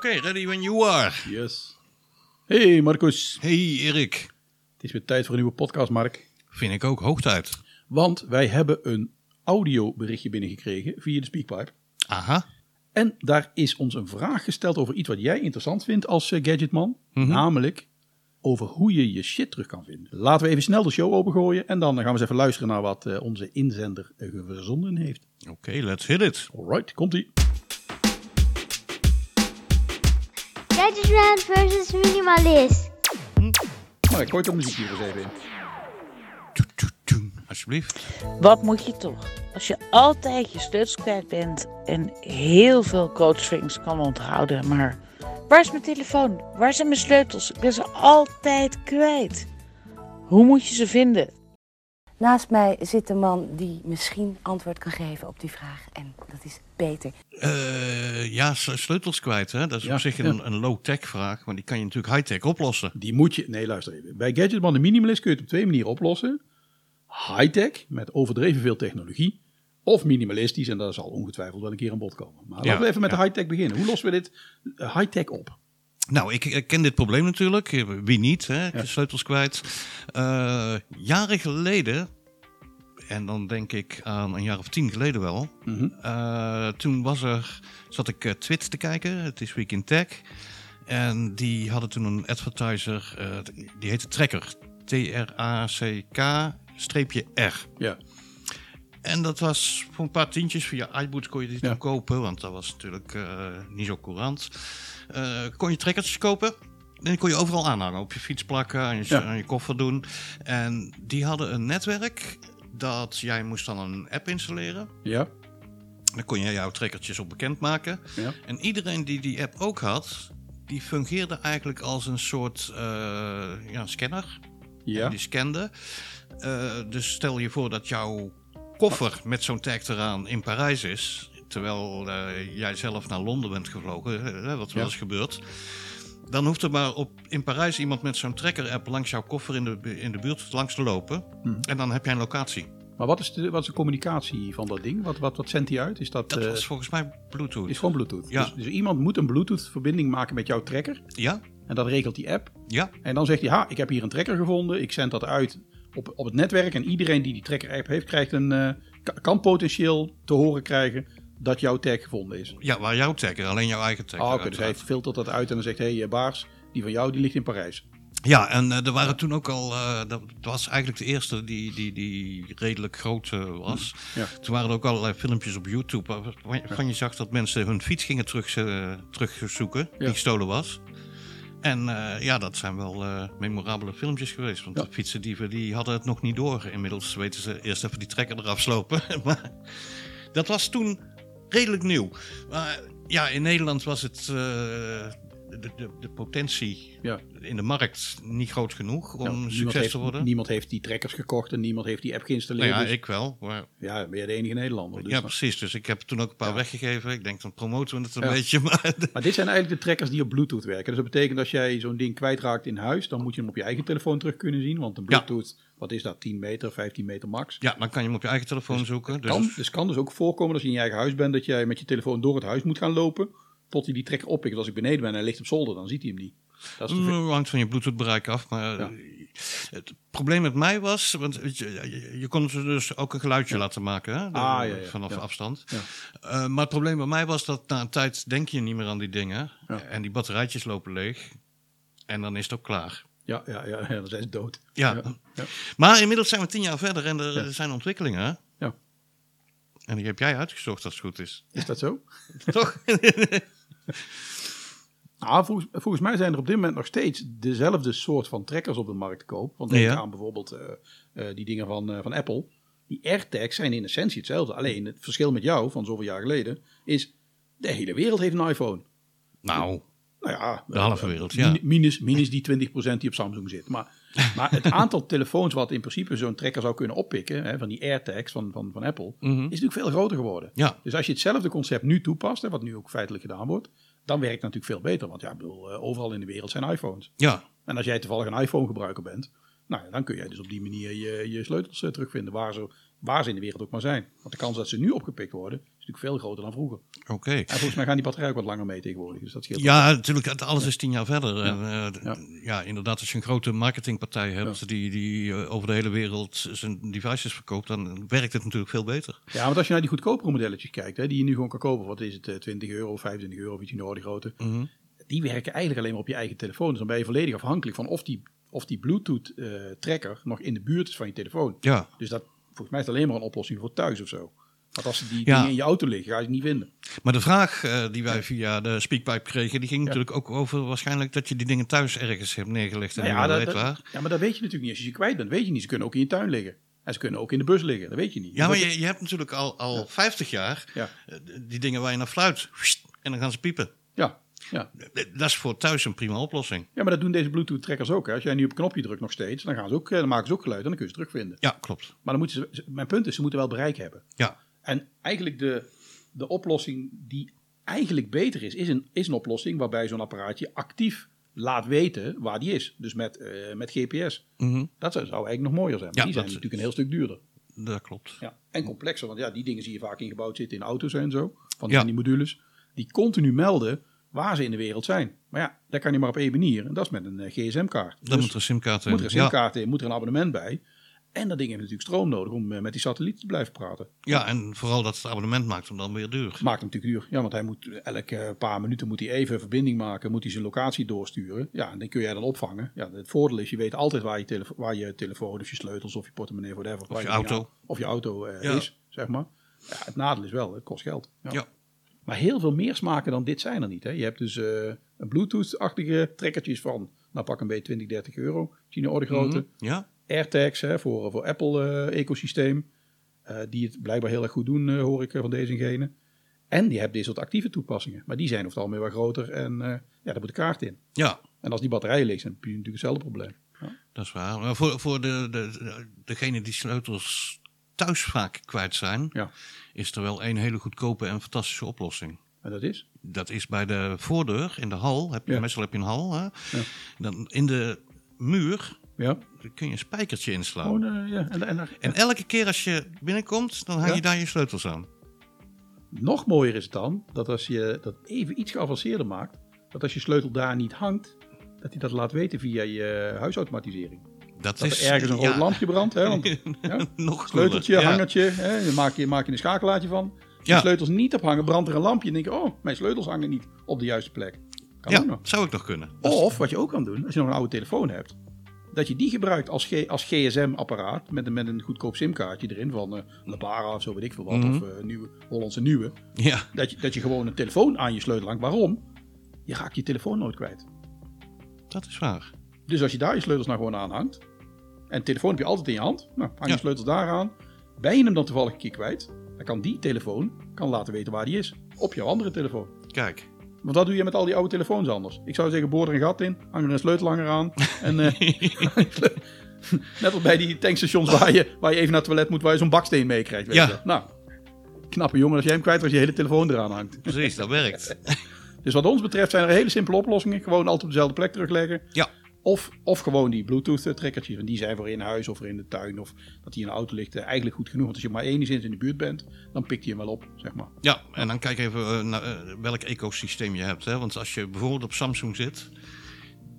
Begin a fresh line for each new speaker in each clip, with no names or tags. ready when you are.
Yes. Hey Marcus,
Hey Erik.
het is weer tijd voor een nieuwe podcast, Mark.
Vind ik ook hoog tijd.
Want wij hebben een audioberichtje binnengekregen via de Speakpipe.
Aha.
En daar is ons een vraag gesteld over iets wat jij interessant vindt als eh, gadgetman. Namelijk over hoe je je shit terug kan vinden. Laten we even snel de show opengooien en dan gaan we eens even luisteren naar wat eh, onze inzender eh, verzonden heeft.
Oké, let's hit it.
Alright, komt-ie.
Gadgetman versus Minimalist.
Nou, ik gooi toch muziek hier eens even in.
Toet, toet, toet. Alsjeblieft.
Wat moet je toch? Als je altijd je sleutels kwijt bent en heel veel coachings kan onthouden, maar waar is mijn telefoon? Waar zijn mijn sleutels? Ik ben ze altijd kwijt. Hoe moet je ze vinden?
Naast mij zit de man die misschien antwoord kan geven op die vraag. En dat is Peter.
Eh, ja, s- sleutels kwijt. Hè? Dat is
Ja,
op zich
ja.
een, een low-tech vraag, maar die kan je natuurlijk high-tech oplossen.
Die moet je. Nee, luister even. Bij Gadgetman de Minimalist kun je het op twee manieren oplossen: high-tech, met overdreven veel technologie. Of minimalistisch, en daar zal ongetwijfeld wel een keer aan bod komen. Maar laten we even met
ja.
de high-tech beginnen. Hoe lossen we dit eh, high-tech op?
Nou, ik, ik ken dit probleem natuurlijk. Eh, Wie niet? Hè? Ik heb Sleutels kwijt. Eh, jaren geleden, en dan denk ik aan een jaar of tien geleden wel. eh, toen was er, zat ik eh, Twits te kijken. Het is Week in Tech. En die hadden toen een advertiser. eh, die heette Tracker. T-R-A-C-K-R.
Ja,
En dat was voor een paar tientjes via iBoot kon je dit
Ja.
toen kopen, want dat was natuurlijk eh, niet zo courant. Eh, kon je trekkertjes kopen en die kon je overal aanhangen. Op je fiets plakken, aan je,
Ja.
aan je koffer doen. En die hadden een netwerk dat jij moest dan een app installeren.
ja,
Dan kon je jouw trekkertjes op bekend maken.
ja.
En iedereen die die app ook had, die fungeerde eigenlijk als een soort eh, ja, scanner. En
ja.
die scande. Eh, dus stel je voor dat jouw koffer met zo'n tag eraan in Parijs is. Terwijl eh, jij zelf naar Londen bent gevlogen, hè, wat wel
Ja.
eens gebeurt. Dan hoeft er maar op, in Parijs iemand met zo'n tracker-app langs jouw koffer in de, bu- in de buurt langs te lopen.
Hmm.
En dan heb jij een locatie.
Maar wat is, de, wat is de communicatie van dat ding? Wat, wat, wat zendt die uit? Is dat,
Dat
eh,
was volgens mij Bluetooth.
is gewoon Bluetooth.
Ja.
Dus, dus iemand moet een Bluetooth-verbinding maken met jouw tracker.
Ja,
En dat regelt die app.
ja,
En dan zegt hij, ha, ik heb hier een tracker gevonden. Ik zend dat uit op, op het netwerk. En iedereen die die tracker-app heeft, krijgt een, eh, ka- kan potentieel te horen krijgen dat jouw tag gevonden is.
ja, waar jouw tagger, alleen jouw eigen tagger.
Ah, Oké, dus hij
uiteraard.
filtert dat uit en dan zegt hij, hey, eh, Baars, die van jou die ligt in Parijs.
Ja, en eh, er waren toen ook al. eh, dat was eigenlijk de eerste die, die, die redelijk groot eh, was.
Hm, Ja.
Toen waren er ook allerlei filmpjes op YouTube. waar- waarvan je zag dat mensen hun fiets gingen terug, eh, terugzoeken.
Ja.
die gestolen was. En eh, ja, dat zijn wel eh, memorabele filmpjes geweest. Want
Ja.
de fietsendieven die hadden het nog niet door. Inmiddels weten ze eerst even die trekker eraf slopen. maar dat was toen redelijk nieuw. Maar ja, in Nederland was het. eh, de, de, de potentie
Ja.
in de markt niet groot genoeg om
Nou, niemand
succes
heeft-
te worden.
Niemand heeft die trackers gekocht en niemand heeft die app
Nou
geïnstalleerd.
ja,
Dus-
ik wel. Maar,
ja, ben je de enige Nederlander. Dus
ja,
dan-
precies. Dus ik heb toen ook een paar weggegeven. Ik denk, dan promoten we het een
Ja.
beetje. Maar
Maar dit zijn eigenlijk de trackers die op Bluetooth werken. Dus dat betekent als jij zo'n ding kwijtraakt in huis, dan moet je hem op je eigen telefoon terug kunnen zien. Want een
Ja.
Bluetooth, wat is dat, 10 meter, 15 meter max?
ja, dan kan je hem op je eigen telefoon zoeken. Dus
Kan, dus kan dus ook voorkomen als je in je eigen huis bent, dat jij met je telefoon door het huis moet gaan lopen. Tot hij die trekker oppikt. Als ik beneden ben en hij ligt op zolder, dan ziet hij hem niet. Dat is te veel.
Mm, hangt van je Bluetooth-bereik af. Maar eh,
Ja.
het probleem met mij was, want weet je, je, je kon ze dus ook een geluidje laten maken hè,
Ah, ja, ja,
vanaf
ja.
afstand.
Ja.
Eh, maar het probleem bij mij was dat na een tijd denk je niet meer aan die dingen.
Ja.
En die batterijtjes lopen leeg. En dan is het ook klaar.
Ja, ja, ja, ja, dan zijn ze dood.
Ja.
Ja, ja.
Maar inmiddels zijn we tien jaar verder en er zijn ontwikkelingen. hè?
Ja.
En die heb jij uitgezocht als het goed is.
Is dat zo?
Toch?
Nou, volgens, volgens mij zijn er op dit moment nog steeds dezelfde soort van trekkers op de markt te koop. Want
Ja.
denk aan bijvoorbeeld eh, eh, die dingen van, eh, van Apple. Die AirTags zijn in essentie hetzelfde. Alleen het verschil met jou van zoveel jaar geleden is... de hele wereld heeft een iPhone.
nou,
Nou ja,
de halve wereld,
Min-
ja.
Minus, minus die 20% die op Samsung zit. Maar, maar het aantal telefoons wat in principe zo'n tracker zou kunnen oppikken, hè, van die AirTags van, van, van Apple, is natuurlijk veel groter geworden.
Mhm. Ja.
Dus als je hetzelfde concept nu toepast, hè, wat nu ook feitelijk gedaan wordt, dan werkt het natuurlijk veel beter. Want ja, ik bedoel, eh, overal in de wereld zijn iPhones.
Ja.
En als jij toevallig een iPhone gebruiker bent, nou, ja, dan kun jij dus op die manier je, je sleutels eh, terugvinden, waar ze, waar ze in de wereld ook maar zijn. Want de kans dat ze nu opgepikt worden, natuurlijk veel groter dan vroeger.
Oké.
En volgens mij gaan die batterijen ook wat langer mee tegenwoordig. Dus dat scheelt
Ja, natuurlijk, het- alles is tien jaar verder. En, eh, d-
Ja.
ja. inderdaad, als je een grote marketingpartij hebt die, die eh, over de hele wereld zijn devices verkoopt, dan werkt het natuurlijk veel beter.
Ja, want als je naar die goedkopere modelletjes kijkt, hè, die je nu gewoon kan kopen, wat is het, eh, 20 euro, 25 euro, of iets in de orde grootte,
Mhm.
die werken eigenlijk alleen maar op je eigen telefoon. Dus dan ben je volledig afhankelijk van of die, of die Bluetooth-tracker nog in de buurt is van je telefoon.
Ja.
Dus dat, volgens mij is het alleen maar een oplossing voor thuis of zo. Want als die
Ja.
dingen in je auto liggen, ga je ze niet vinden.
Maar de vraag eh, die wij via de speakpipe kregen, die ging natuurlijk ook over waarschijnlijk dat je die dingen thuis ergens hebt neergelegd. En
Nou
ja,
dat,
weet
dat-
waar.
ja, maar dat weet je natuurlijk niet. Als je ze kwijt bent, weet je niet. Ze kunnen ook in je tuin liggen. En ze kunnen ook in de bus liggen. Dat weet je niet.
Ja, maar
Dus dat-
je, je hebt natuurlijk al, al 50 jaar
Ja.
eh, die dingen waar je naar fluit. Wst, En dan gaan ze piepen. Eh,
ja, ja.
Dat is voor thuis een prima oplossing.
ja, maar dat doen deze Bluetooth-trackers ook. Hè. Als jij nu op een knopje drukt nog steeds, dan, gaan ze ook, eh, dan maken ze ook geluid en dan kun je ze terugvinden.
Ja, klopt.
Maar dan moeten ze, ze- mijn punt is, ze moeten wel bereik hebben.
Ja,
En eigenlijk de, de oplossing die eigenlijk beter is, is een, is een oplossing waarbij zo'n apparaatje actief laat weten waar die is. Dus met, eh, met GPS. Dat zou, zou eigenlijk nog mooier zijn. Maar
Mhm. Ja,
die zijn
dat-
natuurlijk een heel stuk duurder.
dat klopt.
Ja. En complexer, want ja, die dingen zie je vaak ingebouwd zitten in auto's en zo. Van die,
Ja.
van die modules. Die continu melden waar ze in de wereld zijn. Maar ja, dat kan je maar op één manier. En dat is met een eh, gsm-kaart.
Dan moet er een simkaart in.
Dus Moet er een
Ja.
simkaart in, moet er een abonnement bij. En dat ding heeft natuurlijk stroom nodig om eh, met die satellieten te blijven praten.
Ja, en vooral dat het abonnement maakt hem dan weer duur.
Maakt hem natuurlijk duur. Ja, want hij moet eh, elke paar minuten moet hij even verbinding maken, moet hij zijn locatie doorsturen. Ja, en dan kun jij dan opvangen. Ja, het voordeel is, je weet altijd waar je, telefo- waar je telefoon of je sleutels of je portemonnee, whatever. waar
je
dingen
auto.
aan- Of je auto eh,
Ja.
is, zeg maar. Ja, het nadeel is wel, het kost geld.
Ja.
Maar heel veel meer smaken dan dit zijn er niet. Hè? Je hebt dus eh, een Bluetooth-achtige trekkertjes van, nou pak een beetje 20, 30 euro. China orde
Mhm.
grootte.
Ja.
AirTags hè, voor, eh, voor Apple-ecosysteem. eh, die het blijkbaar heel erg goed doen, eh, hoor ik eh, van deze en gene. En die hebben dit soort actieve toepassingen. Maar die zijn over het algemeen wel groter en eh, ja, daar moet de kaart in.
Ja,
En als die batterijen leeg zijn, heb je natuurlijk hetzelfde probleem.
dat is waar. Maar voor, voor de, de, degene die sleutels thuis vaak kwijt zijn,
Ja.
is er wel één hele goedkope en fantastische oplossing.
En dat is?
Dat is bij de voordeur in de hal. Heb je,
Ja.
Meestal heb je een hal. Hè? Dan in de muur
Ja.
kun je een spijkertje inslaan.
Gewoon, eh, ja. En, en, en-
En elke keer als je binnenkomt, dan hang
Ja.
je daar je sleutels aan.
nog mooier is het dan, dat als je dat even iets geavanceerder maakt, dat als je sleutel daar niet hangt, dat hij dat laat weten via je huisautomatisering.
Dat,
Dat
is
er ergens een rood
ja,
lampje brandt. Hè, want, ja.
Nog
Sleuteltje,
cooler. Ja.
hangertje, hè, je maak, je, maak je een schakelaartje van. Als je
Ja.
sleutels niet ophangen, brandt er een lampje. En denk je, oh, mijn sleutels hangen niet op de juiste plek. Kan ook
Ja,
nog.
zou ik nog kunnen.
Of, wat je ook kan doen, als je nog een oude telefoon hebt, dat je die gebruikt als, G- als gsm-apparaat met, een- met een goedkoop simkaartje erin van eh Labara of zo, weet ik veel wat,
Mhm.
of eh, nieuwe, Hollandse Nieuwe.
Ja,
Dat je, dat je gewoon een telefoon aan je sleutel hangt. Waarom? Je raakt je telefoon nooit kwijt.
dat is waar.
Dus als je daar je sleutels nou gewoon aan hangt. En de telefoon heb je altijd in je hand. Nou, hang je
Ja.
sleutels daar aan. Ben je hem dan toevallig een keer kwijt. Dan kan die telefoon kan laten weten waar die is. Op jouw andere telefoon.
Kijk.
Want dat doe je met al die oude telefoons anders. Ik zou zeggen, boor er een gat in. Hang er een sleutelhanger aan. En, eh, net als bij die tankstations waar je, waar je even naar het toilet moet. Waar je zo'n baksteen meekrijgt. weet
Ja.
je. Nou, knappe jongen als jij hem kwijt was. Je hele telefoon eraan hangt.
Precies, dat werkt.
Dus wat ons betreft zijn er hele simpele oplossingen. Gewoon altijd op dezelfde plek terugleggen.
Ja,
Of, of gewoon die Bluetooth-trekkertjes. Want die zijn voor in huis of voor in de tuin. Of dat die in de auto ligt. eh, Eigenlijk goed genoeg. Want als je maar enigszins in de buurt bent, dan pikt hij hem wel op, zeg maar.
ja. en dan kijk even eh, naar eh, welk ecosysteem je hebt. Hè? Want als je bijvoorbeeld op Samsung zit,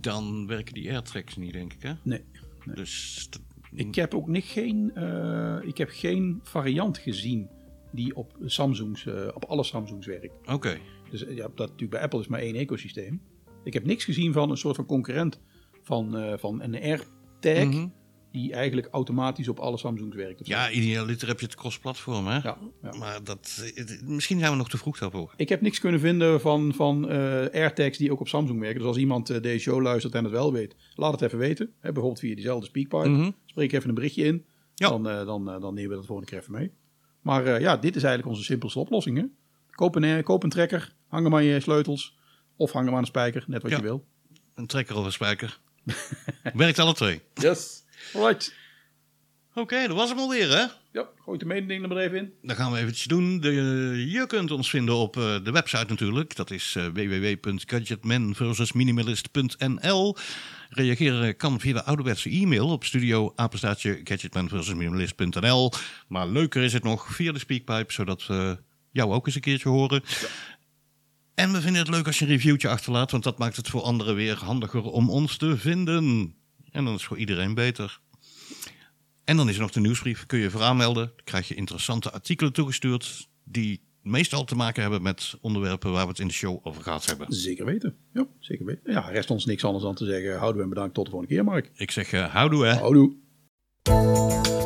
dan werken die airtracks niet, denk ik. Hè?
Nee.
Dus t-
Ik heb ook niet, geen, eh, ik heb geen variant gezien die op, Samsung's, eh, op alle Samsung's werkt.
oké.
Dus eh, ja, dat natuurlijk bij Apple is maar één ecosysteem. Ik heb niks gezien van een soort van concurrent van, eh, van een AirTag. Die eigenlijk automatisch op alle Samsung's werkt. of zo.
Ja, idealiter heb je het cross-platform, hè?
Ja, ja.
Maar dat, het- misschien zijn we nog te vroeg daarvoor.
Ik heb niks kunnen vinden van, van eh, AirTags die ook op Samsung werken. Dus als iemand eh, deze show luistert en het wel weet, laat het even weten. Hè, bijvoorbeeld via diezelfde speakpipe. Spreek even een berichtje in.
Mhm. Ja.
Dan, eh, dan, eh, dan nemen we dat volgende keer even mee. Maar eh, ja, dit is eigenlijk onze simpelste oplossing. Hè? Koop, een, eh, koop een trekker, hang hem aan je sleutels. Of hang hem aan een spijker, net wat
Ja.
je wil.
Een trekker of een spijker. werkt alle twee.
Yes. Alright.
Oké, dat was hem alweer, hè?
Ja, gooi de mededing er maar even in.
Dan gaan we eventjes doen. De, eh, je kunt ons vinden op eh, de website natuurlijk. Dat is eh, www.gadgetmanversusminimalist.nl. Reageren kan via de ouderwetse e-mail op studio apenstaartje gadgetmanversusminimalist.nl. Maar leuker is het nog via de speakpipe, zodat we jou ook eens een keertje horen. En we vinden het leuk als je een reviewtje achterlaat, want dat maakt het voor anderen weer handiger om ons te vinden. En dan is het voor iedereen beter. En dan is er nog de nieuwsbrief. Kun je je voor aanmelden. Dan krijg je interessante artikelen toegestuurd. Die meestal te maken hebben met onderwerpen waar we het in de show over gehad hebben.
Zeker weten. Ja, zeker weten. Ja, rest ons niks anders dan te zeggen. Houden we en bedankt. Tot de volgende keer, Mark.
Ik zeg, eh houdoe hè.
Houdoe.